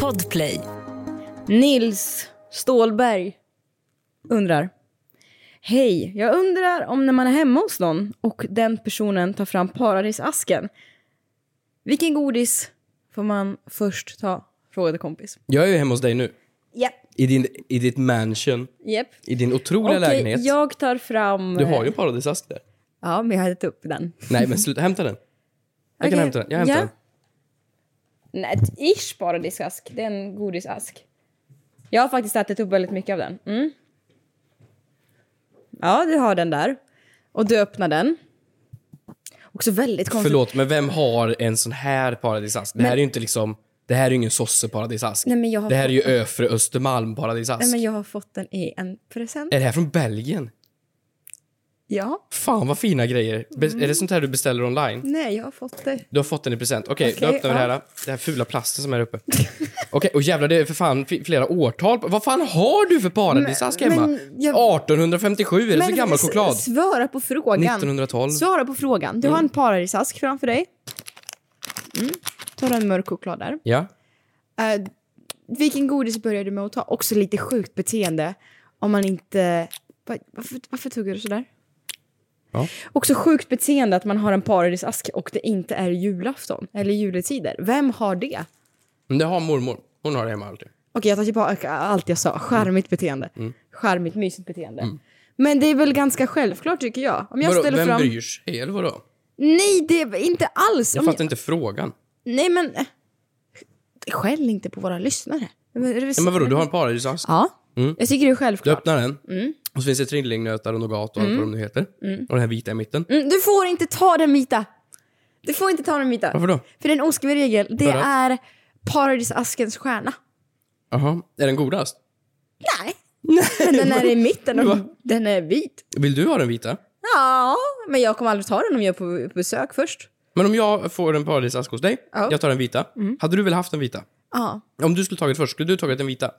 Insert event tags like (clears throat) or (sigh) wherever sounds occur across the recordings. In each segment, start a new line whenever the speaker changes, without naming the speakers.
Podplay.
Nils Stålberg undrar. Hej, jag undrar om när man är hemma hos någon och den personen tar fram paradisasken. Vilken godis får man först ta? Frågade kompis.
Jag är ju hemma hos dig nu.
Japp.
I, din, I ditt mansion.
Japp.
I din otroliga lägenhet.
jag tar fram... eh,
Du har ju en paradisask där.
Ja, men jag har ätit upp den.
Nej, men sluta. Hämta den. Jag
Okej.
kan hämta den. Jag hämtar
Ja.
den.
Nej, ett ish paradisask. Det är en godisask. Jag har faktiskt ätit upp väldigt mycket av den. Mm. Ja, du har den där. Och du öppnar den. Också väldigt konstigt.
Förlåt, men vem har en sån här paradisask? Det här är ju inte liksom... Det här är ju ingen sosse-paradisask.
Nej, men jag har
Det här är ju Öfre Östermalm-paradisask.
Nej, men jag har fått den i en present.
Är det här från Belgien?
Ja.
Fan vad fina grejer. Be-
Mm.
Är det sånt här du beställer online?
Nej, jag har fått det.
Du har fått den i present. Okej,
Okej,
då öppnar vi
ja.
det här. Den här fula plasten som
(laughs)
är uppe. Okej, och jävlar det är för fan fi- flera årtal. på- Vad fan har du för paradisask
Men-
hemma?
men jag-
1857, är det så gammal
s-
choklad? Mm.
Svara på frågan.
1912.
Svara på frågan. Du har en paradisask framför dig. Mm. Tar en mörk choklad där.
Ja.
Eh, vilken godis började du med att ta? Också lite sjukt beteende. Om man inte... Va- Varför, varför tuggar du sådär?
Ja.
Också sjukt beteende att man har en paradisask och det inte är julafton eller juletider. Vem har det? Okej,
Men det har mormor. Hon har det hemma alltid.
jag tar tillbaka allt jag sa. Charmigt beteende.
Mm.
Charmigt, mysigt beteende. Men det är väl ganska självklart tycker jag. Om jag
Vadå,
ställer
vem
fram...
bryr sig? Eller vadå?
Nej, det är inte alls.
Jag
Om jag-
fattar inte frågan.
Nej, men... eh, Skäll inte på våra lyssnare. Men, är det väl-
Nej, men vadå, du har en paradisask?
Ja,
Mm.
jag tycker det är självklart.
Du öppnar den.
Mm.
Och så finns det trillingnötar och nougat och allt vad de nu heter. Och den här vita i mitten.
Mm, du får inte ta den vita. Du får inte ta den vita.
Varför då?
För det är en oskriven regel. Det
Vadå?
är paradisaskens
(laughs)
stjärna.
Jaha, är den godast?
Nej. Men den är i mitten och
Va?
den är vit.
Vill du ha den vita?
Ja, men jag kommer aldrig ta den om jag är på på besök först.
Men om jag får en paradisask hos dig,
Ja. Mm.
jag tar den vita. Hade du väl haft den vita?
Ja.
Om du skulle tagit först, skulle du tagit den vita?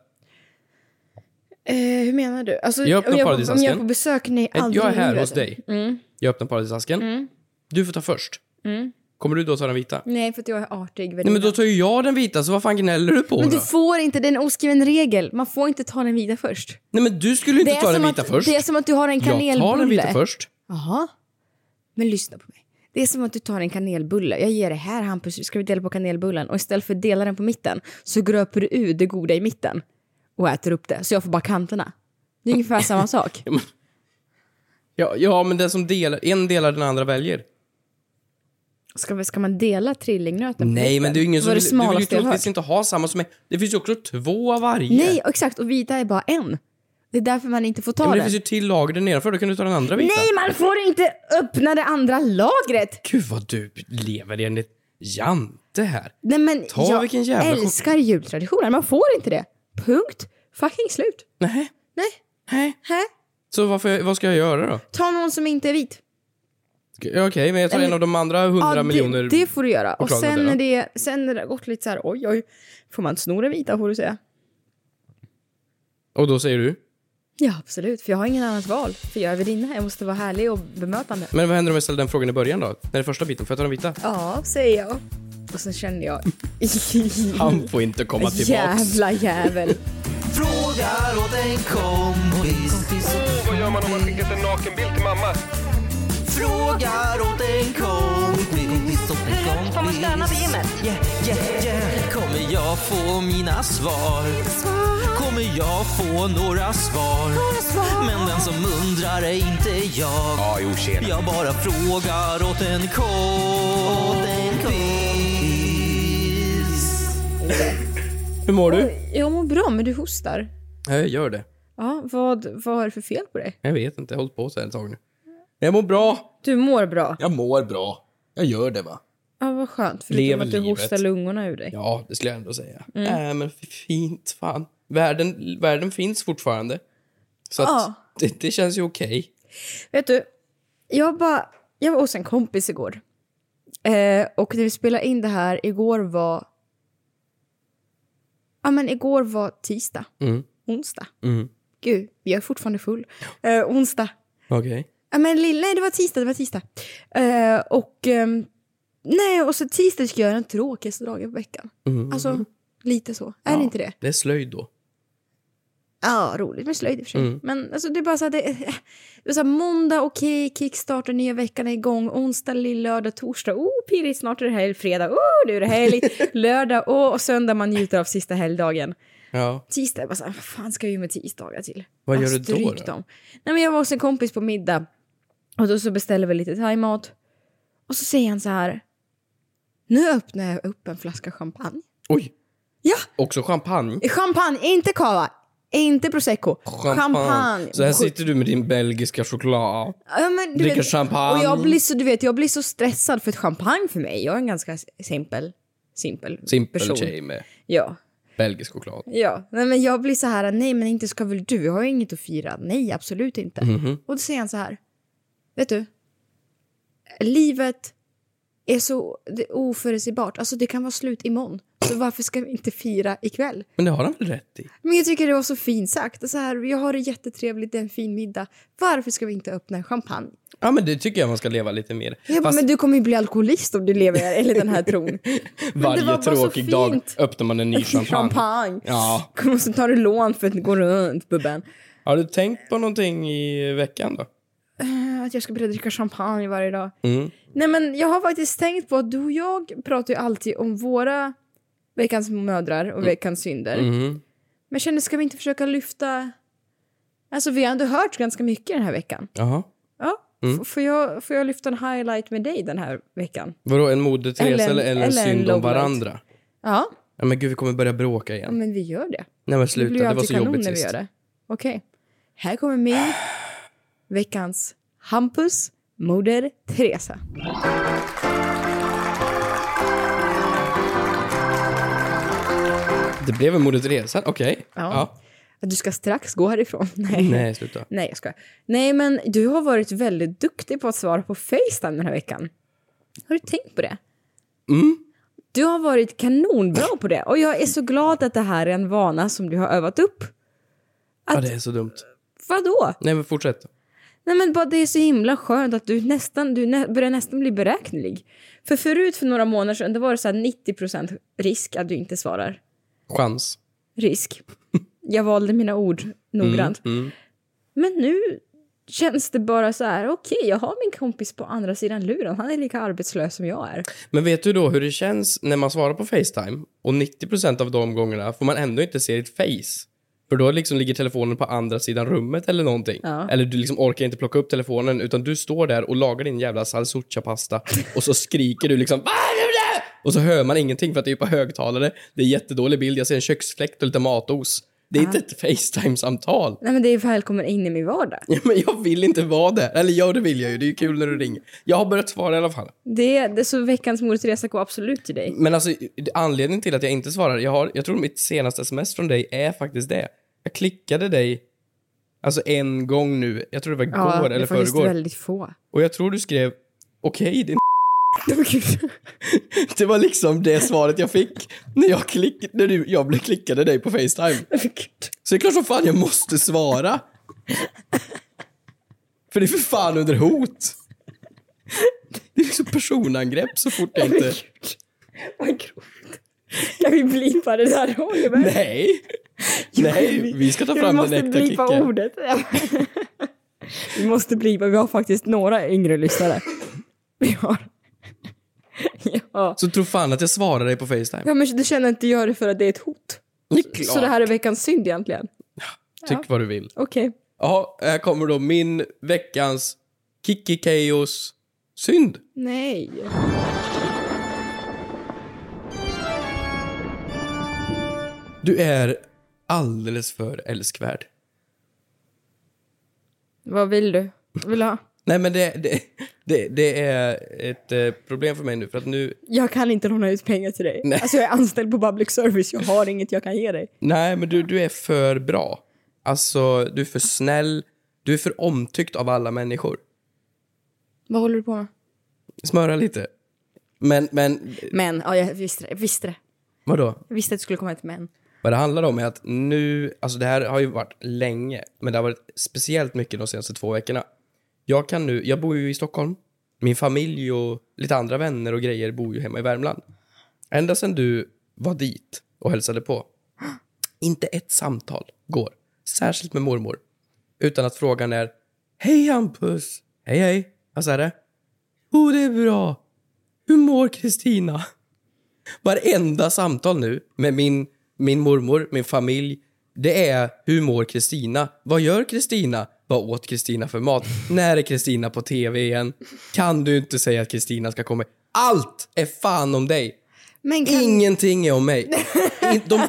Eh, hur menar du? Alltså,
Jag öppnar
om, jag, om
paradisasken.
jag är på besök? Nej,
Nej,
aldrig
jag
i
är här
livet. Mm.
hos dig. Jag öppnar paradisasken. Du får ta först. Kommer du då ta den vita?
Nej, för att jag är artig.
Nej, men då tar ju jag den vita, så vad fan gnäller du på
Men
då?
du får inte, det är en oskriven regel. Man får inte ta den vita först.
Nej, men du skulle ju inte ta den
som
vita
att,
först.
det är som att du har en kanelbulle.
jag tar den vita först.
Jaha. Men lyssna på mig. Det är som att du tar en kanelbulle. Jag ger dig här Hampus, ska vi dela på kanelbullen? Och istället för att dela den på mitten så gröper du ur det goda i mitten och äter upp det. Så jag får bara kanterna. Det är ungefär
(laughs)
samma sak.
Ja, ja, men den som delar, en delar, den andra väljer.
Ska, ska man dela trillingnöten på
Nej,
mitten?
men det är ju ingen som
Var det
vill, du vill ju
smalaste jag hört.
troligtvis inte ha samma som mig. Det finns ju också två av varje.
Nej, exakt. Och vita är bara en. Det är därför man inte får ta
Ja, men det
den.
finns ju till lager där nedanför, då kan du ta den andra vita.
Nej, man får inte öppna det andra lagret!
Gud vad du lever enligt Jante här.
Nej, men
Ta
jag
vilken jävla chock-
älskar jultraditioner. Man får inte det. Punkt. Fucking slut.
Nej.
Nej.
Nej.
Hä?
Så varför, vad ska jag göra då?
Ta någon som inte är vit.
Ska- Okej, men jag tar
Nej,
en av de andra hundra
det,
miljoner.
det får du göra. Och
choklad
sen
där,
när, det, sen när det har gått lite så här, oj oj, får man sno den vita får du säga.
Och då säger du?
Ja absolut, för jag har ingen annat val. För jag är värdinna, jag måste vara härlig och bemötande.
Men vad händer om jag ställer den frågan i början då? När det är första biten, får jag ta den vita?
Ja, säger jag. Och sen känner jag, (laughs)
Han får inte komma tillbaks.
jävla jävel.
Frågar åt en kompis.
Vad gör man om man skickat en nakenbild till mamma?
Frågar åt en kompis. Hur högt får man stöna vid gymmet? Yeah, yeah, yeah. Kommer jag få mina svar? Kommer jag få några svar? Men den som undrar är inte jag.
Ja, jo, tjena.
Jag bara frågar åt en kompis.
Hur mår du?
Jag mår bra, men du hostar.
Ja, jag gör det.
Ja, vad, vad är det för fel på dig?
Jag vet inte, jag har hållit på så här ett tag nu. Jag mår bra.
Du mår bra.
Jag mår bra. Jag gör det va?
Ja, vad skönt. Förutom
Lev
att du
livet.
hostar lungorna ur dig.
Ja, det skulle jag ändå säga.
Mm.
Nej, men fint fan. Världen, världen finns fortfarande. Så att
Ja.
det, det känns ju okej.
Vet du, jag, bara, jag var hos en kompis igår. Eh, och när vi spelade in det här, igår var... Ja men igår var tisdag.
Mm.
Onsdag.
Mm.
Gud, jag är fortfarande full. Eh, onsdag.
Okej.
Ja men lill- nej det var tisdag, det var tisdag. Eh,
Mm.
och... ehm, nej, och så tisdag tycker jag är den tråkigaste dagen på veckan. Alltså, Lite så. Är det inte det?
Det är slöjd då.
Ja, roligt med slöjd i och för sig.
Mm.
Men alltså, det är bara så här, det, det är så här måndag, okej, kickstarter, nya veckan är igång. Onsdag, lillördag, torsdag, oh pirrigt, snart är det helg. Fredag, oh nu är det
(laughs)
helg. Lördag, åh, och söndag man njuter av sista helgdagen.
Ja.
Tisdag, jag bara så här, vad fan ska jag ju med tisdagar till?
Vad
Bara
gör du då,
stryk
då?
Dem. Nej, men jag var hos en kompis på middag och då så beställde vi lite thaimat. Och så säger han så här, nu öppnar jag upp en flaska champagne.
Oj,
Ja,
också champagne.
champagne, inte cava. Inte prosecco. Champagne.
Så här sitter du med din belgiska choklad.
Ja, men du
Dricker
vet,
champagne.
Och jag blir, så, du vet, jag blir så stressad för ett champagne för mig. Jag är en ganska simpel, simpel,
Simpel
person.
tjej med
Ja.
belgisk choklad.
Ja, nej, men jag blir så här, nej men inte ska väl du, jag har ju inget att fira, nej absolut inte.
Mhm.
Och då säger han så här, vet du, livet är så det är oförutsägbart, alltså det kan vara slut imorgon, så varför ska vi inte fira ikväll?
Men det har han väl rätt i?
Men jag tycker det var så fint sagt, så här, jag har det jättetrevligt, det är en fin middag, varför ska vi inte öppna en champagne?
Ja, men det tycker jag man ska leva lite mer.
Jag bara,
Fast
men du kommer ju bli alkoholist om du lever enligt den här
(laughs)
tron. det var
varje
bara så
tråkig dag
fint.
öppnar man en ny champagne.
(laughs) Champagne.
Ja.
Och så tar du lån för att gå runt, bubben.
Har du tänkt på någonting i veckan då?
Att jag ska börja dricka champagne varje dag.
Mm.
Nej men jag har faktiskt tänkt på att du och jag pratar ju alltid om våra veckans mödrar och veckans synder.
Mm.
Men jag känner, ska vi inte försöka lyfta... Alltså vi har ändå hört ganska mycket den här veckan.
Jaha.
Ja.
Mm.
F- får, jag, får jag lyfta en highlight med dig den här veckan?
Vadå, en Moder
Eller
Teresa
en-
eller, eller en
eller en
synd om
lowlight.
varandra?
Ja,
Ja, men gud, vi kommer börja bråka igen.
men vi gör det.
Nej, men
Mm. Det
sluta.
blir ju
Det, var
alltid
så
kanon
jobbigt
när vi gör
sist.
det. Okej. Här kommer min veckans Hampus Moder Teresa.
Det blev en Moder Teresa, okej.
Ja.
Ja.
Att Du ska strax gå härifrån. (laughs) Nej.
Nej, sluta.
Nej, jag skojar. Nej, men du har varit väldigt duktig på att svara på Facetime den här veckan. Har du tänkt på det?
Mm.
Du har varit kanonbra på det och jag är så glad att det här är en vana som du har övat upp.
Ja, det är så dumt.
Vadå?
Nej, men fortsätt.
Nej men bara det är så himla skönt att du nästan, du nä- börjar nästan bli beräknelig. För förut för några månader sedan då var det så här 90% risk att du inte svarar.
Chans.
Risk. Jag valde mina ord noggrant.
Mm.
Men nu känns det bara så här, okej jag har min kompis på andra sidan luren, han är lika arbetslös som jag är.
Men vet du då hur det känns när man svarar på Facetime och 90% av de gångerna får man ändå inte se ditt face? För då liksom ligger telefonen på andra sidan rummet eller någonting.
Ja.
Eller du liksom orkar inte plocka upp telefonen utan du står där och lagar din jävla salsuccia-pasta och så skriker du liksom "Vad är det?" Och så hör man ingenting för att det är på högtalare. Det är jättedålig bild, jag ser en köksfläkt och lite matos. Det är inte ett Facetime-samtal. (laughs)
Nej men det är välkommen in i min vardag.
Ja, men jag vill inte vara där. Eller ja, det vill jag ju. Det är ju kul när du ringer. Jag har börjat svara i alla fall.
Det är, det är så veckans Moder Teresa går absolut till dig.
Men alltså, anledningen till att jag inte svarar, jag, har, jag tror mitt senaste sms från dig är faktiskt det. Jag klickade dig, alltså en gång nu, jag tror det var igår
det
eller
är faktiskt
förrgår.
väldigt få. (laughs)
Och jag tror du skrev, okej din (laughs) Det var liksom det svaret jag fick när jag, klick, när du, jag blev klickade dig på Facetime. Så det är klart som fan jag måste svara. För det är för fan under hot. Det är liksom personangrepp så fort
(laughs)
jag inte...
Vad grovt. Kan vi blipa det där Oliver?
Nej! Nej, vi ska ta fram den
Vi
äkta
måste blipa
kicken.
ordet. (laughs) vi måste blipa, vi har faktiskt några yngre lyssnare. Vi har... ja.
Så tro fan att jag svarar dig på Facetime.
ja, men du känner inte gör det för att det är ett hot?
Det är klart.
Så det här är veckans synd egentligen?
Tyck vad du vill.
Okej.
Ja, här kommer då min veckans Kiki Chaos synd.
Nej.
Du är alldeles för älskvärd.
Vad vill du? Vill du ha?
Nej, men det, det, det, det är ett eh, problem för mig nu, för att nu...
Jag kan inte låna ut pengar till dig.
Nej.
Alltså jag är anställd på public service, jag har inget jag kan ge dig.
Nej, men du, du är för bra. Alltså, du är för snäll. Du är för omtyckt av alla människor.
Vad håller du på med?
Smöra lite. Men, men,
Men, ja jag visste det. Jag visste det.
vadå?
Jag visste att det skulle komma ett men.
Vad det handlar om är att nu, alltså det här har ju varit länge, men det har varit speciellt mycket de senaste två veckorna. Jag kan nu, jag bor ju i Stockholm. Min familj och lite andra vänner och grejer bor ju hemma i Värmland. Ända sedan du var dit och hälsade på. Inte ett samtal går, särskilt med mormor, utan att frågan är Hej Hampus! Hej hej! Vad säger det? Jo, det är bra. Hur mår Kristina? Varenda samtal nu med min, min mormor, min familj, det är hur mår Kristina? Vad gör Kristina? Vad åt Kristina för mat? När är Kristina på tv igen? Kan du inte säga att Kristina ska komma? Allt är fan om dig.
Men kan...
Ingenting är om mig. In,
(laughs)
de,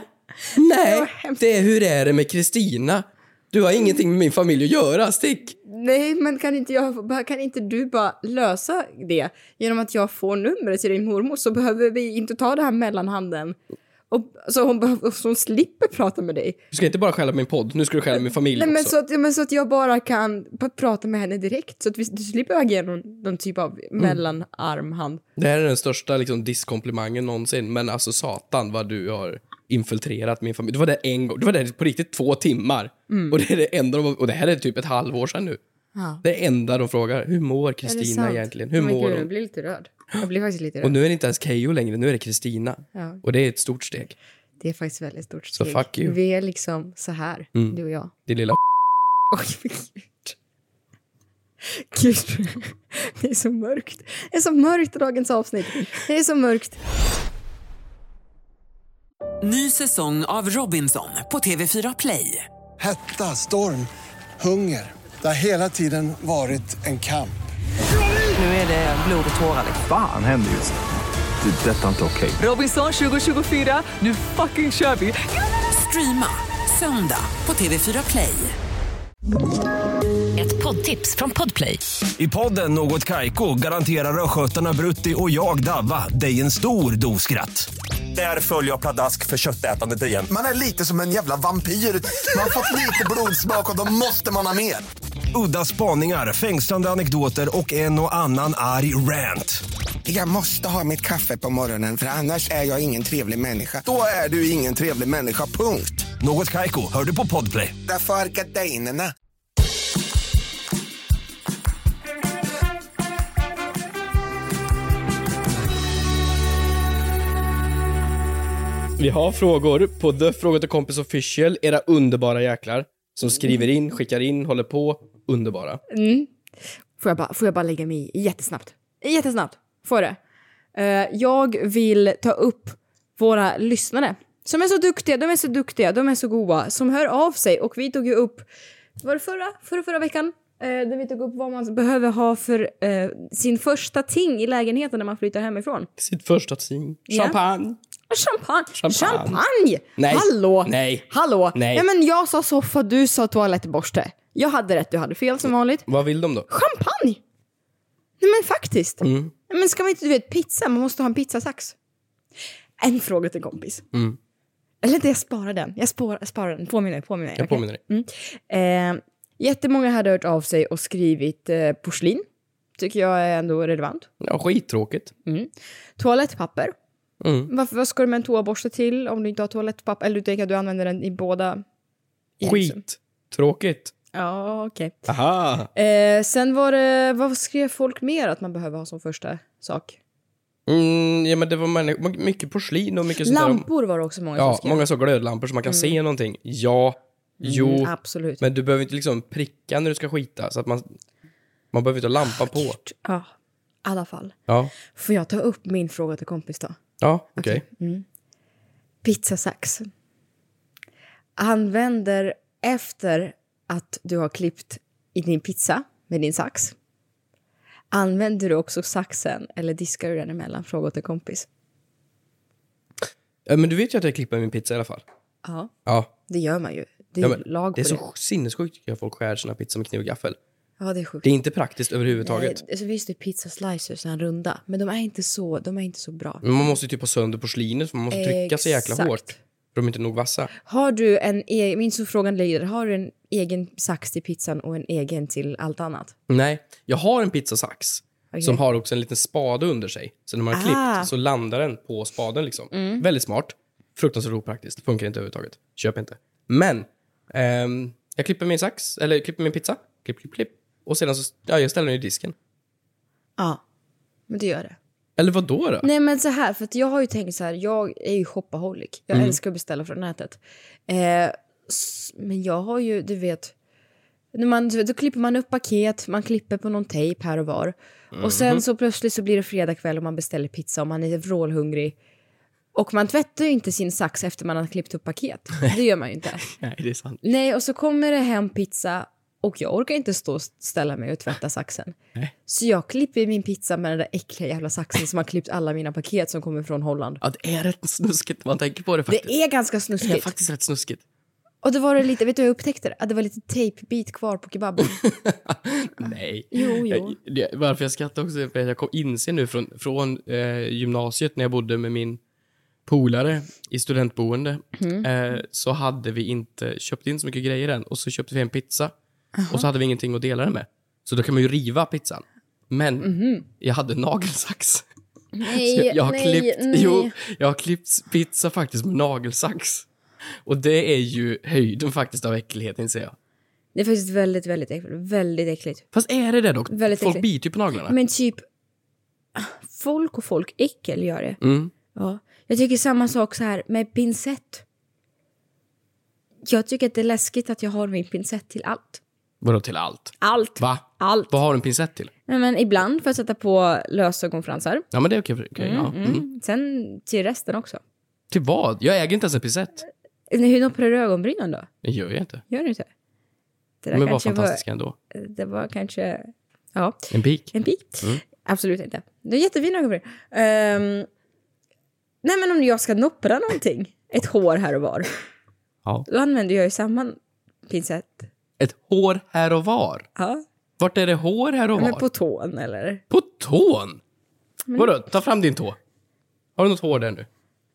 nej, det är hur är det med Kristina? Du har ingenting med min familj att göra, stick!
Nej, men kan inte, jag, kan inte du bara lösa det genom att jag får numret till din mormor så behöver vi inte ta det här mellanhanden. Och, så, hon behöver, så hon slipper prata med dig.
Du ska inte bara skälla på min podd, nu ska du skälla på min familj
Nej, men,
också.
så att, men så att jag bara kan p- prata med henne direkt så att vi, du slipper agera någon, någon typ av
Mm.
mellanarmhand.
Det här är den största liksom, diskomplimangen någonsin, men alltså satan vad du har infiltrerat min familj. Du var där en gång, du var där på riktigt två timmar.
Mm.
Och det är det enda de, och det här är typ ett halvår sedan nu.
Ja.
Det enda de frågar, hur mår
Är det
Kristina
sant?
egentligen? Hur
Men
mår
gud, Jag
hon?
blir lite rörd. Jag blir faktiskt lite
Och
rörd.
nu är det inte ens Keyyo längre, nu är det Kristina.
Ja.
Och det är ett stort steg.
Det är faktiskt väldigt stort
Så
steg.
fuck you. Mm.
Vi är liksom så här, du och jag.
Det lilla (laughs)
Oj, men gud. Gud, det är så mörkt. Det är så mörkt i dagens avsnitt. Det är så mörkt.
Ny säsong av Robinson på TV4 Play.
Hetta, storm, hunger. Det har hela tiden varit en kamp.
Nu är det blod och tårar.
Fan händer just nu. Det. är Detta är inte okej.
Robinson 2024, nu fucking kör vi! Streama söndag på TV4 Play.
Ett poddtips från Podplay.
I podden Något Kaiko garanterar östgötarna Brutti och jag, Davva, dig en stor dos skratt. Där följer jag pladask för köttätandet igen.
Man är lite som en jävla vampyr. Man har fått lite blodsmak och då måste man ha mer.
Udda spaningar, fängslande anekdoter och en och annan arg rant.
Jag måste ha mitt kaffe på morgonen för annars är jag ingen trevlig människa. Då är du ingen trevlig människa, punkt.
Något Kaiko, hör du på Podplay.
Därför är gardinerna.
Vi har frågor på The Fråga till Kompis Official, era underbara jäklar. Som skriver in, skickar in, håller på. Underbara.
Får jag bara, får jag bara lägga mig i jättesnabbt? Jättesnabbt. Får jag det? Eh, jag vill ta upp våra lyssnare som är så duktiga, de är så duktiga, de är så goa, som hör av sig. Och vi tog ju upp, var det förra, förra, förra veckan? Eh, där vi tog upp vad man behöver ha för eh, sin första ting i lägenheten när man flyttar hemifrån.
Sitt första ting.
Ja.
Champagne.
Champagne!
Champagne.
Champagne!
Nej.
Hallå!
Nej.
Hallå!
Nej.
men jag sa soffa, du sa toalettborste. Jag hade rätt, du hade fel som vanligt.
Vad vill de då?
Champagne! Nej men faktiskt.
Mm.
Nej, men ska man inte, du vet pizza, man måste ha en pizzasax. En fråga till kompis.
Mm.
Eller inte, jag sparar den. Jag spår, sparar den. Påminner, påminner.
Jag påminner dig.
Eh, jättemånga hade hört av sig och skrivit eh, porslin. Tycker jag är ändå relevant.
Ja, skittråkigt.
Toalettpapper.
Mm.
Varför, vad ska du med en toaborste till om du inte har toalettpapper? Eller du tänker att du använder den i båda? i liksom.
Skittråkigt.
Ja, okej.
Aha.
Eh, sen var det, vad skrev folk mer att man behöver ha som första sak?
Mm, ja, men det var människ- mycket porslin och mycket sånt där.
Lampor var det också många som
Ja,
skrev.
många så glödlampor så man kan se någonting. Ja. Jo.
Mm, absolut.
men du behöver inte liksom pricka när du ska skita. Så att man, man behöver inte ha lampa på.
Ja, i alla fall.
Ja.
Får jag ta upp min fråga till kompis då?
Ja, okej.
Pizzasax. Använder efter att du har klippt i din pizza med din sax. Använder du också saxen eller diskar du den emellan? Fråga till kompis.
Ja, Men du vet ju att jag klipper min pizza i alla fall.
Ja,
Ja.
det gör man ju. Det är
Ja,
ju
men
lag
det är
på
så sinnessjukt tycker jag folk skär sina pizzor med kniv och gaffel.
det. Ja, det är sjukt.
Det är inte praktiskt överhuvudtaget.
Nej, alltså visst det är pizza slicers, såna här runda, men de är inte så, de är inte så bra.
Men man måste ju typ ha sönder porslinet för man måste trycka så jäkla
Exakt.
hårt. För de är inte nog vassa.
Har du en egen, min så frågan lyder, har du en egen sax till pizzan och en egen till allt annat?
Nej, jag har en pizzasax
Okej.
som har också en liten spade under sig. Så när man har
Ah. Mm.
klippt så landar den på spaden liksom. Väldigt smart. Fruktansvärt opraktiskt. Funkar inte överhuvudtaget. Köp inte. Men ehm, jag klipper min sax, eller klipper min pizza. Klipp, klipp, klipp. Och sedan så, ja, jag ställer den i disken.
Ja, men det gör det.
Eller vad då? då?
Nej men så här, för att jag har ju tänkt så här, jag är ju shopaholic. Jag
Mm.
älskar att beställa från nätet. Eh, s- men jag har ju, du vet, när man, då klipper man upp paket, man klipper på någon tejp här och var. Och
Mm.
sen så plötsligt så blir det fredag kväll och man beställer pizza och man är vrålhungrig. Och man tvättar ju inte sin sax efter man har klippt upp
(laughs)
paket. Det gör man ju inte.
Nej, det är sant.
Nej, och så kommer det hem pizza och jag orkar inte stå och ställa mig och tvätta saxen. Så jag klipper min pizza med den där äckliga jävla saxen som har klippt alla mina paket som kommer från Holland.
Ja, det är rätt snuskigt när man tänker på det faktiskt.
Det är ganska
Det är
snuskigt.
faktiskt rätt snuskigt.
Och det var det lite, vet du hur jag upptäckte det? Att det var lite tejpbit kvar på
(laughs)
kebaben.
Nej.
Jo, jo.
Jag, det, varför jag skrattar också är för att jag kom, inser nu från, från eh, gymnasiet när jag bodde med min polare i studentboende
Mhm.
eh, så hade vi inte köpt in så mycket grejer än och så köpte vi en pizza och så hade vi ingenting att dela den med. Så då kan man ju riva pizzan. Men jag hade nagelsax.
Nej,
Så jag, jag, har
Mhm. nej,
klippt,
nej.
Jo, jag har klippt pizza faktiskt med nagelsax. Och det är ju höjden faktiskt av äcklighet inser jag.
Det är faktiskt väldigt, väldigt äckligt. Väldigt äckligt.
Fast är det det dock?
Väldigt
Folk
äckligt.
biter ju på naglarna.
Men typ, folk och folk, äckel gör det.
Mm.
Ja. Jag tycker samma sak så här med pincett. Jag tycker att det är läskigt att jag har min pincett till allt.
Vadå till allt?
Allt.
Va?
Allt.
Vad har du en pincett till?
Nej, men ibland för att sätta på lösögonfransar.
Ja, men det är okej. okej, ja. mm.
Sen till resten också.
Till vad? Jag äger inte ens en pincett.
Nej, Hur knoppar du ögonbrynen då?
Det gör jag inte.
Gör du inte? Det där
Men vad
kanske var,
fantastiskt ändå.
det var kanske... Ja,
En pik.
en pik.
Mm.
Absolut inte. Du är jättefin ögonbryn. Ehm, nej, men om jag ska noppra någonting, ett hår här och var,
Ja.
då använder jag ju samma pincett.
Ett hår här och var.
Ja,
Vart är det hår här och
men
var?
på tån eller?
På tån? Vadå? Ta fram din tå. Har du något hår där nu?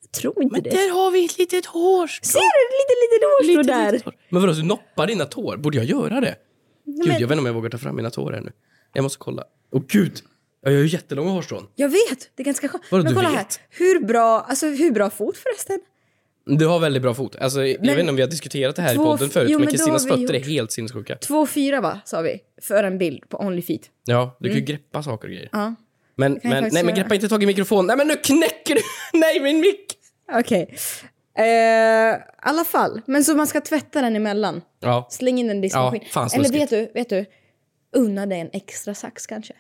Jag tror inte det.
har vi ett litet hårstrå.
Ser du? Lite, lite hårstrå där.
litet hår. Men vadå, så du noppar dina tår? Borde jag göra det? Gud,
men-
jag vet inte om jag vågar ta fram mina tår här nu. Jag måste kolla. Åh gud! Jag har ju jättelånga hårstrån.
Jag vet, det är ganska skönt.
Vadå,
Men
du
kolla
vet?
här, hur bra, alltså hur bra fot förresten?
Du har väldigt bra fot. Alltså, jag vet inte om vi har diskuterat det här i
Två-
podden förut,
jo, men
men
då
Kristinas
har vi
fötter är
gjort-
helt sinnessjuka.
2,4 va, sa vi, för en bild på Onlyfeet.
Ja, du kan ju greppa saker och grejer.
Ja.
Men,
kan jag
men,
faktiskt
nej, men
göra.
greppa inte tag i mikrofonen. Nej, men nu knäcker du! (laughs) Nej, min mick!
Okej. Eh, I alla fall, men så man ska tvätta den emellan.
Ja.
Släng in den i diskmaskinen.
Ja, fan,
Eller
snuskigt.
vet du, vet du, unna dig en extra sax kanske.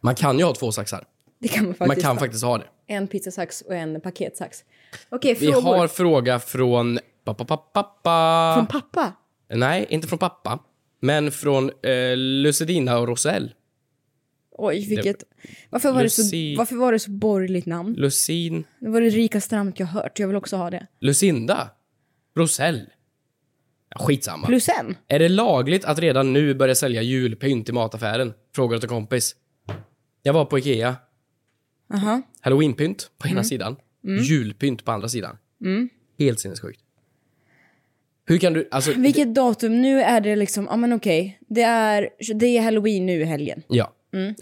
Man kan ju ha två saxar.
Det kan man
Man
faktiskt
kan
ha.
faktiskt ha det.
En pizzasax och en paketsax. Okej,
Vi
frågor.
har fråga från... Pappa, pappa, pappa.
Från pappa?
Nej, inte från pappa. Men från eh, Lucidina och Rosell.
Oj, vilket... Varför var, det så,
Lucy-
varför var det så borgerligt namn?
Lucin...
Det var det rikaste namnet jag hört, jag vill också ha det.
Lucinda? Rosell? Ja, Skitsamma.
Plus en.
Är det lagligt att redan nu börja sälja julpynt i mataffären? Frågar till kompis. Jag var på Ikea.
Aha.
Halloweenpynt på ena sidan, julpynt på andra sidan. Helt sinnessjukt. Hur kan du... Alltså,
Vilket datum? Nu är det liksom, ja men okej. Det, är, det är halloween nu i helgen.
Ja.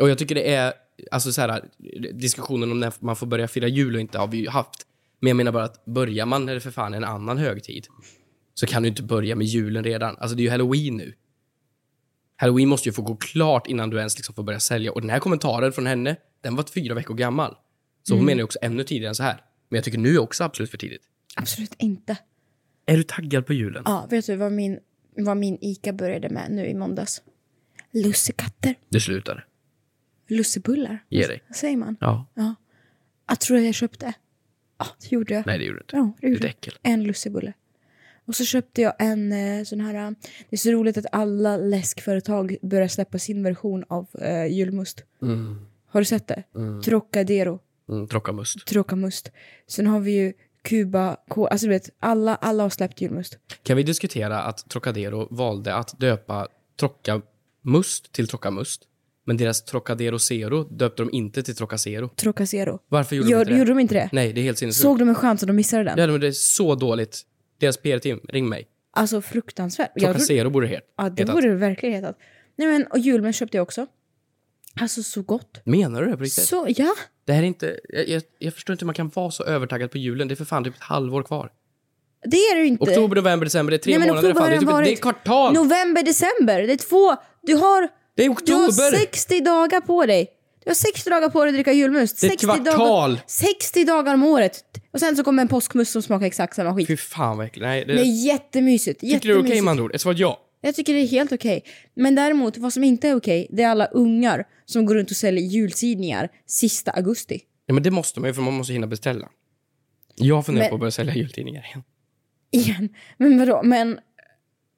Och jag tycker det är... Alltså så här, diskussionen om när man får börja fira jul och inte har vi ju haft. Men jag menar bara att börjar man när det för fan är en annan högtid så kan du inte börja med julen redan. Alltså det är ju halloween nu. Halloween måste ju få gå klart innan du ens liksom får börja sälja. Och den här kommentaren från henne, den var fyra veckor gammal. Så hon menar ju också ännu tidigare än så här. Men jag tycker nu är också absolut för tidigt.
Absolut inte.
Är du taggad på julen?
Ja, vet du vad min, vad min ICA började med nu i måndags? Lussekatter.
Det slutar.
Lussebullar.
Ge dig.
Vad säger man?
Ja.
Jag Ah, tror jag köpte. Ja, det gjorde jag.
Nej, det gjorde du inte.
Ja, det
Du är ett
gjorde jag.
äckel.
En lussebulle. Och så köpte jag en eh, sån här... eh, Det är så roligt att alla läskföretag börjar släppa sin version av eh, julmust. Har du sett det? Trocadero.
Mm, Trockamust.
Tråkamust. Sen har vi ju Kuba, K, alltså du vet, alla, alla har släppt julmust.
Kan vi diskutera att Trocadero valde att döpa Trockamust till Trockamust? Men deras Trocadero Zero döpte de inte till Trocacero.
Trocacero.
Varför gjorde
Gör,
de inte
gjorde
det?
de inte det?
Nej, det är helt sinnessjukt.
Såg de en chans och de missade den?
Ja, men det är så dåligt. Deras PR-team, ring mig.
Alltså fruktansvärt. Jag tror,
Trocacero borde det het-
ja, det
hetat.
borde det verkligen hetat. Nej men, och julmust köpte jag också. Alltså så gott.
Menar du det på riktigt?
Så, ja.
Det här är inte... Jag, jag, jag förstår inte hur man kan vara så övertaggad på julen. Det är för fan typ ett halvår kvar.
Det är det ju inte.
Oktober, november, december. Det är tre
Nej, men
månader.
oktober
Fan, det, är
har
typ,
den
ett- det är
varit.
kvartal!
November, december. Det är två... Du har...
det är
Du har
oktober!
60 dagar på dig. Du har 60 dagar på dig att dricka julmust.
Det är ett
60
kvartal.
Dagar, 60 dagar om året. Och sen så kommer en påskmust som smakar exakt samma skit.
Fy fan vad äckligt. Nej, det,
Det är jättemysigt.
tycker du det är okej
jättemysigt.
med andra ord? Ett svar ja.
Jag tycker det är helt okej. Men däremot, vad som inte är okej, det är alla ungar som går runt och säljer jultidningar sista augusti.
Ja, men det måste man ju för man måste hinna beställa. Jag funderar
Men-
på att börja sälja jultidningar igen.
Igen. Men vadå? Men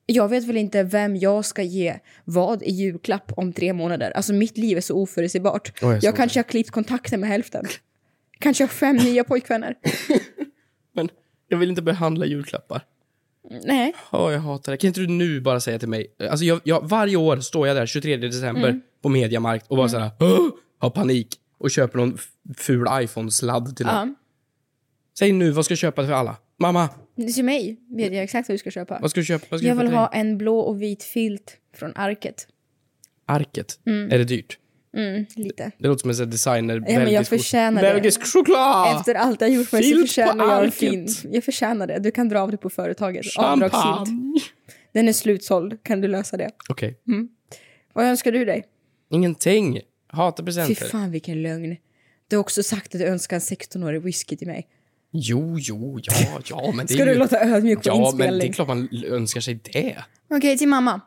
jag vet väl inte vem jag ska ge vad i julklapp om tre månader. Alltså mitt liv är så oförutsägbart.
jag
jag
såg
kanske har klippt kontakten med hälften. Kanske har fem nya
(laughs)
pojkvänner.
Men jag vill inte behandla julklappar.
Nej.
Åh, jag hatar det. Kan inte du nu bara säga till mig? Alltså, jag, jag, varje år står jag där 23 december
Mm.
på Mediamarkt och bara såhär, "Åh!" har panik och köper någon f- ful iPhone-sladd till någon.
Ja.
Säg nu, vad ska jag köpa för alla? Mamma,
Det är till mig vet jag exakt vad du ska köpa.
vad ska du köpa? Vad ska
Jag
du
vill
köpa
ha en blå och vit filt från Arket.
till dig? Arket. Är det dyrt?
Mm, lite.
Det låter som en sån här designer.
men jag
belgisk-
förtjänar det.
Belgisk choklad!
Efter allt jag gjort för mig så
Ah, Filt på
förtjänar jag en
Arket.
fin. Jag förtjänar det. Du kan dra av det på företaget. Avdragsgillt.
Champagne!
Den är slutsåld. Kan du lösa det?
Okej.
Vad önskar du dig?
Ingenting. Hatar
Fy
presenter.
fan vilken lögn. Du har också sagt att du önskar en 16-årig whisky till mig.
Jo, jo, ja, ja, men det
Ska
är
du
ju...
låta ödmjuk på
Ja, men det
inspelning?
är klart man l- önskar sig det.
Okej, till mamma.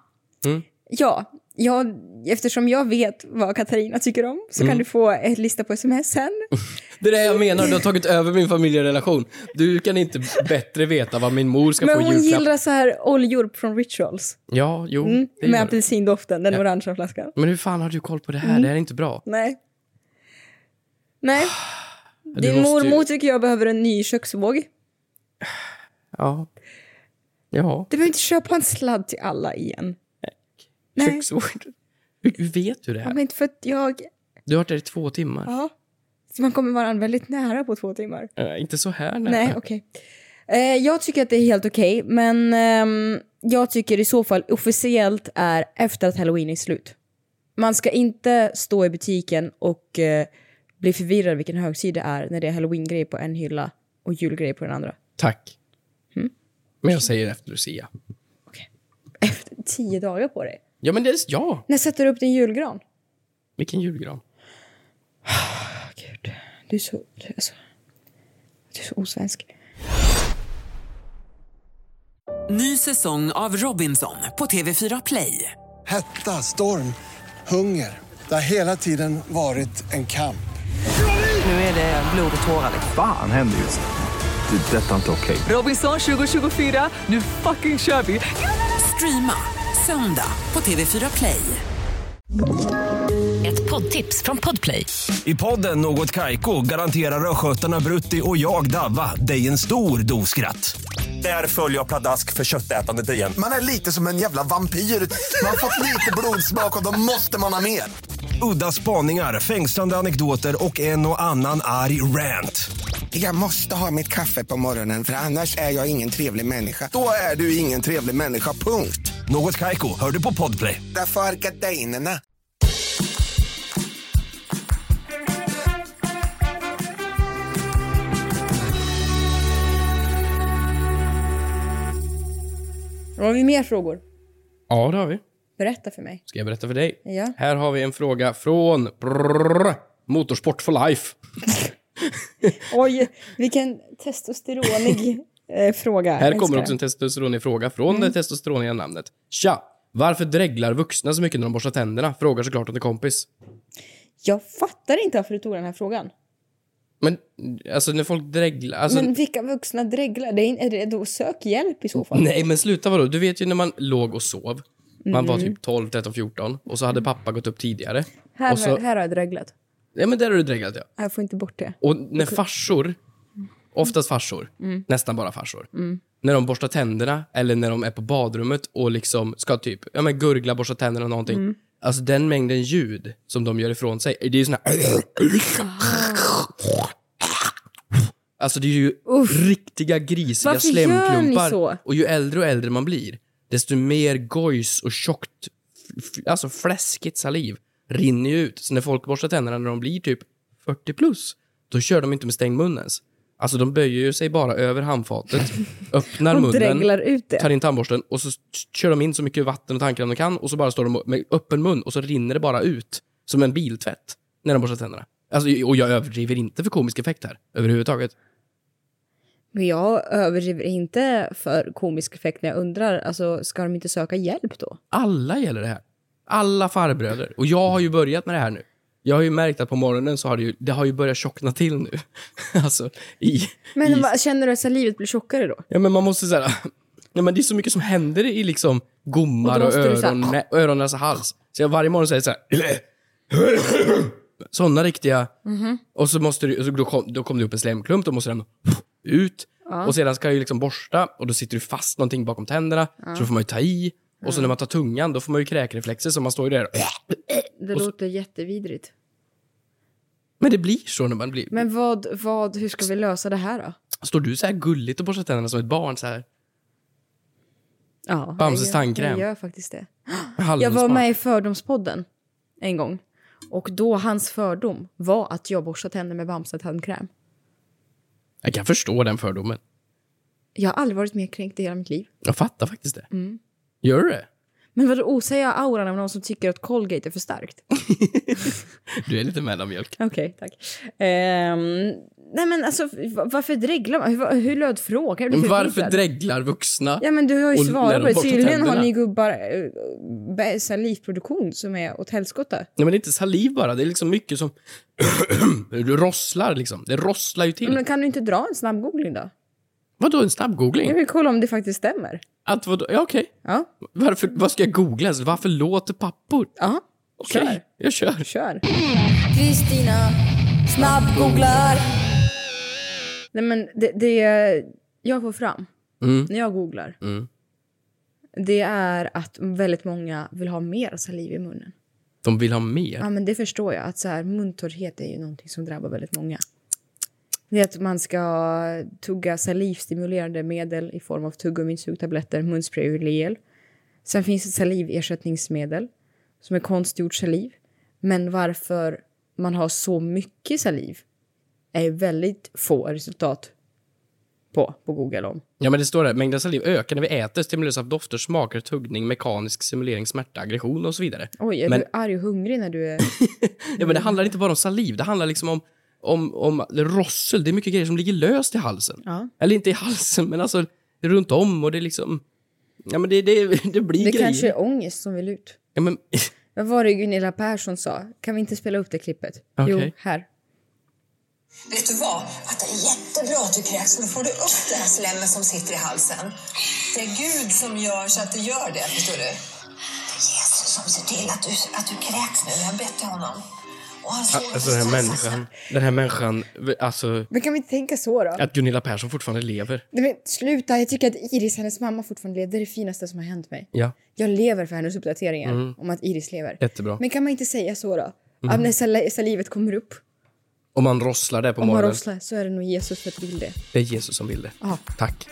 Mm.
Ja, jag, eftersom jag vet vad Katarina tycker om så
Mm.
kan du få en lista på sms sen.
Det är det jag menar, du har tagit över min familjerelation. Du kan inte bättre veta vad min mor ska
Men
få i
hon
julklapp.
gillar så här oljor från Rituals. Mm.
Ja, jo, det
Med
gör du.
apelsindoften, den orangea flaskan.
Men hur fan har du koll på det här? Det här är inte bra.
Nej. Nej,
Ah, Du
din
måste ju-
mormor tycker jag behöver en ny köksvåg.
Ja. Ja.
Du behöver inte köpa en sladd till alla igen. Nej.
Köksvård. Hur, hur vet du det här?
Men inte för att jag...
Du har varit där i två timmar.
Ja. Så man kommer vara väldigt nära på två timmar.
Eh, inte så här nära.
Nej, okej. Eh, jag tycker att det är helt okej, men ehm, jag tycker i så fall officiellt är efter att halloween är slut. Man ska inte stå i butiken och eh, bli förvirrad vilken högsida det är när det är halloween-grej på en hylla och julgrej på den andra.
Tack.
Mm.
Men jag säger efter Lucia.
Efter tio dagar på dig.
Ja, men det är... Ja!
När sätter du upp din julgran?
Vilken julgran.
Åh, Gud, du är så... Du är så, du är så osvensk.
Ny säsong av Robinson på TV4 Play.
Hetta, storm, hunger. Det har hela tiden varit en kamp.
Nu är det blod och tårar.
Fan händer just nu. Det. är Detta är inte okej.
Robinson 2024, nu fucking kör vi! Streama söndag på TV4 Play.
Ett poddtips från Podplay.
I podden Något Kaiko garanterar östgötarna Brutti och jag, Davva, dig en stor dos skratt. Där följer jag pladask för köttätandet igen.
Man är lite som en jävla vampyr. Man har fått lite blodsmak och då måste man ha mer.
Udda spaningar, fängslande anekdoter och en och annan arg rant.
Jag måste ha mitt kaffe på morgonen för annars är jag ingen trevlig människa. Då är du ingen trevlig människa, punkt.
Något Kaiko, hör du på podplay.
Därför är gardinerna.
Har vi mer frågor?
Ja, det har vi.
Berätta för mig.
Ska jag berätta för dig?
Ja.
Här har vi en fråga från brrr, Motorsport for Life.
Oj, vilken testosteronig eh, fråga.
Här
Älskar Mm.
kommer
den.
också en testosteronig fråga från det testosteroniga namnet. Tja! Varför dreglar vuxna så mycket när de borstar tänderna? Frågar såklart åt en kompis.
Jag fattar inte varför du tog den här frågan.
Men alltså när folk dreglar... Alltså,
Men vilka vuxna dreglar? Det är, in- är det då sök hjälp i så fall.
Nej men sluta vadå? Du vet ju när man låg och sov. Man var
Mm.
typ 12, 13, 14 och så hade pappa gått upp tidigare.
Här,
och så,
här har jag dreglat.
ja men där har du dreglat ja.
Jag får inte bort det.
Och när farsor, oftast farsor, nästan bara farsor, när de borstar tänderna eller när de är på badrummet och liksom ska typ ja, men gurgla, borsta tänderna och någonting. Alltså den mängden ljud som de gör ifrån sig, det är ju såna här...
Ah.
Alltså det är ju riktiga grisiga
Varför gör ni
slemklumpar.
så?
Och ju äldre och äldre man blir, desto mer gojs och tjockt, f- f- alltså fläskigt saliv rinner ju ut. Så när folk borstar tänderna när de blir typ 40 plus, då kör de inte med stängd mun ens. Alltså de böjer ju sig bara
(laughs)
över handfatet, öppnar
Och dreglar
munnen,
ut det.
tar in tandborsten och så s- kör de in så mycket vatten och tandkräm de kan och så bara står de med öppen mun och så rinner det bara ut. Som en biltvätt. när de borstar tänderna. Alltså, och jag överdriver inte för komisk effekt här, överhuvudtaget.
Men jag överdriver inte för komisk effekt när jag undrar, alltså ska de inte söka hjälp då?
Alla gäller det här. Alla farbröder. Och jag har ju börjat med det här nu. Jag har ju märkt att på morgonen så har det ju, det har ju börjat tjockna till nu. (laughs) alltså, i,
Men
i
vad- känner du att så här, livet blir tjockare då?
Ja, men man måste (clears throat) säga Nej, men det är så mycket som händer i liksom gommar
Och då
och,
måste du
öron,
så ah.
nä- öron, näsa, hals. Så jag varje morgon säger så här. (clears throat) Såna riktiga.
Mhm.
Och så måste du, och så då, kom, då kom det upp en slemklump, då måste den (sniffs) ut. Och sedan ska jag ju liksom borsta och då sitter du fast någonting bakom tänderna. Så då får man ju ta i. Och så när man tar tungan, då får man ju kräkreflexer så man står ju där.
Det låter jättevidrigt.
(sniffs) Men det blir så när man blir...
Men vad, vad, hur ska vi lösa det här då?
Står du så här gulligt och borstar tänderna som ett barn så här?
Ja,
Bamses
jag gör- Jag
tandkräm.
gör faktiskt det. Jag var
Hallonsmak.
med i Fördomspodden en gång. Och då hans fördom var att jag borstar tänder med Bamse-tandkräm.
Jag kan förstå den fördomen.
Jag har aldrig varit mer kränkt i hela mitt liv.
Jag fattar faktiskt det.
Mm.
Gör du det?
Men vadå, osäger jag auran av någon som tycker att Colgate är för starkt?
Du är lite mellanmjölk.
(laughs) Okej, tack. Ehm, nej men alltså, va- varför dreglar man? Hur, hur löd frågan? Jag blir
Men varför
förvirrad.
dreglar vuxna?
Ja men du har ju
Och när
svarat
de
på det.
borstar
Tydligen har
tänderna?
ni gubbar eh, bä- salivproduktion som är åt helskotta.
Nej, men det är inte saliv bara. Det är liksom mycket som (clears throat) rosslar liksom. Det rosslar ju till.
Men kan du inte dra en snabb googling då?
Vadå en snabbgoogling?
Jag vill kolla om det faktiskt stämmer.
Att vadå? Ja, okej.
Ja.
Varför, vad ska jag googla? Alltså, Varför låter pappor?
Ja,
Okej,
kör.
jag
(laughs)
kör.
Kör.
Kristina, snabbgooglar!
Nej men det, det jag får fram
Mm.
när jag googlar.
Mm.
Det är att väldigt många vill ha mer saliv i munnen.
De vill ha mer.
Ja men det förstår jag. Att så här, muntorrhet är ju någonting som drabbar väldigt många. Det är att man ska tugga salivstimulerande medel i form av tuggummin, sugtabletter, munspray och gel. Sen finns det saliversättningsmedel som är konstgjort saliv. Men varför man har så mycket saliv är ju väldigt få resultat på, på Google om.
Ja, men det står där. Mängden saliv ökar när vi äter, stimuleras av dofter, smaker, tuggning, mekanisk simulering, smärta, aggression och så vidare.
Oj, är
Men-
du arg och hungrig när du är...
Ja, men det handlar inte bara om saliv. Det handlar liksom om, om, om rossel. Det är mycket grejer som ligger löst i halsen.
Ja.
Eller inte i halsen, men alltså runt om och det är liksom... Ja, men det, det, det blir
Det
grejer.
kanske är ångest som vill ut.
Ja, men,
Vad var det Gunilla Persson sa? Kan vi inte spela upp det klippet? Jo,
Okej.
här.
Vet du vad? Att det är jättebra att du kräks, för då får du upp den här slemmen som sitter i halsen. Det är Gud som gör så att det gör det, förstår du? Det är Jesus som ser till att du, att du kräks nu. Jag har bett till honom. Och han såg
alltså den här människan, den här människan, alltså
Men kan vi inte tänka så då?
att Gunilla Persson fortfarande lever.
Nej, men sluta, jag tycker att Iris, hennes mamma, fortfarande lever. Det är det finaste som har hänt mig.
Ja,
Jag lever för hennes uppdateringar
Mm.
om att Iris lever.
jättebra. Mm.
Men kan man inte säga så då? Att när sal- salivet kommer upp,
Om man rosslar det på
om man
morgonen.
rosslar, så är det nog Jesus för att vill det.
Det är Jesus som vill det.
Ja.
Tack.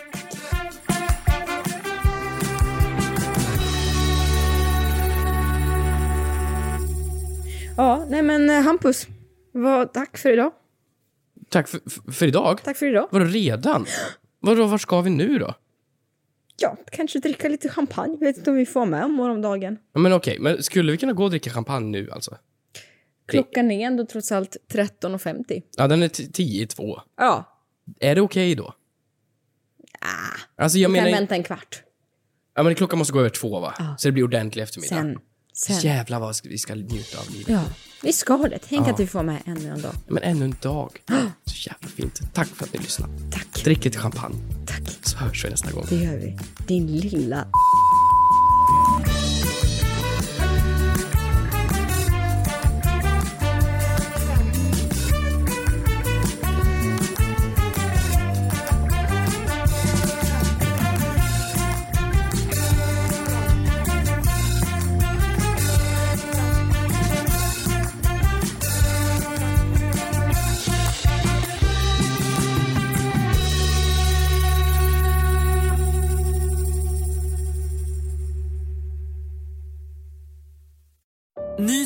Ja, nej men eh, Hampus, vad, tack för idag.
Tack för, för- för idag.
Tack för idag.
Vadå redan? Vadå, var ska vi nu då?
Ja, kanske dricka lite champagne. Vet inte om vi får med om morgondagen.
Ja, men okej, men skulle vi kunna gå och dricka champagne nu alltså?
Klockan är ändå trots allt 13.50.
Ja, den är t- tio i två.
Ja,
Är det okej då? Alltså jag
vi kan
menar,
Ah, vänta en kvart.
ja, men klockan måste gå över två va? Så det blir ordentlig eftermiddag.
Sen. Sen.
Jävlar vad vi ska njuta av livet.
Ja, vi ska det. Tänk
Ja.
att vi får med ännu en dag.
Men ännu en
(gasps)
dag. Så jävla fint. Tack för att ni lyssnade.
Tack.
Drick lite champagne.
Tack.
Så hörs vi nästa gång.
Det gör vi. Din lilla
Ny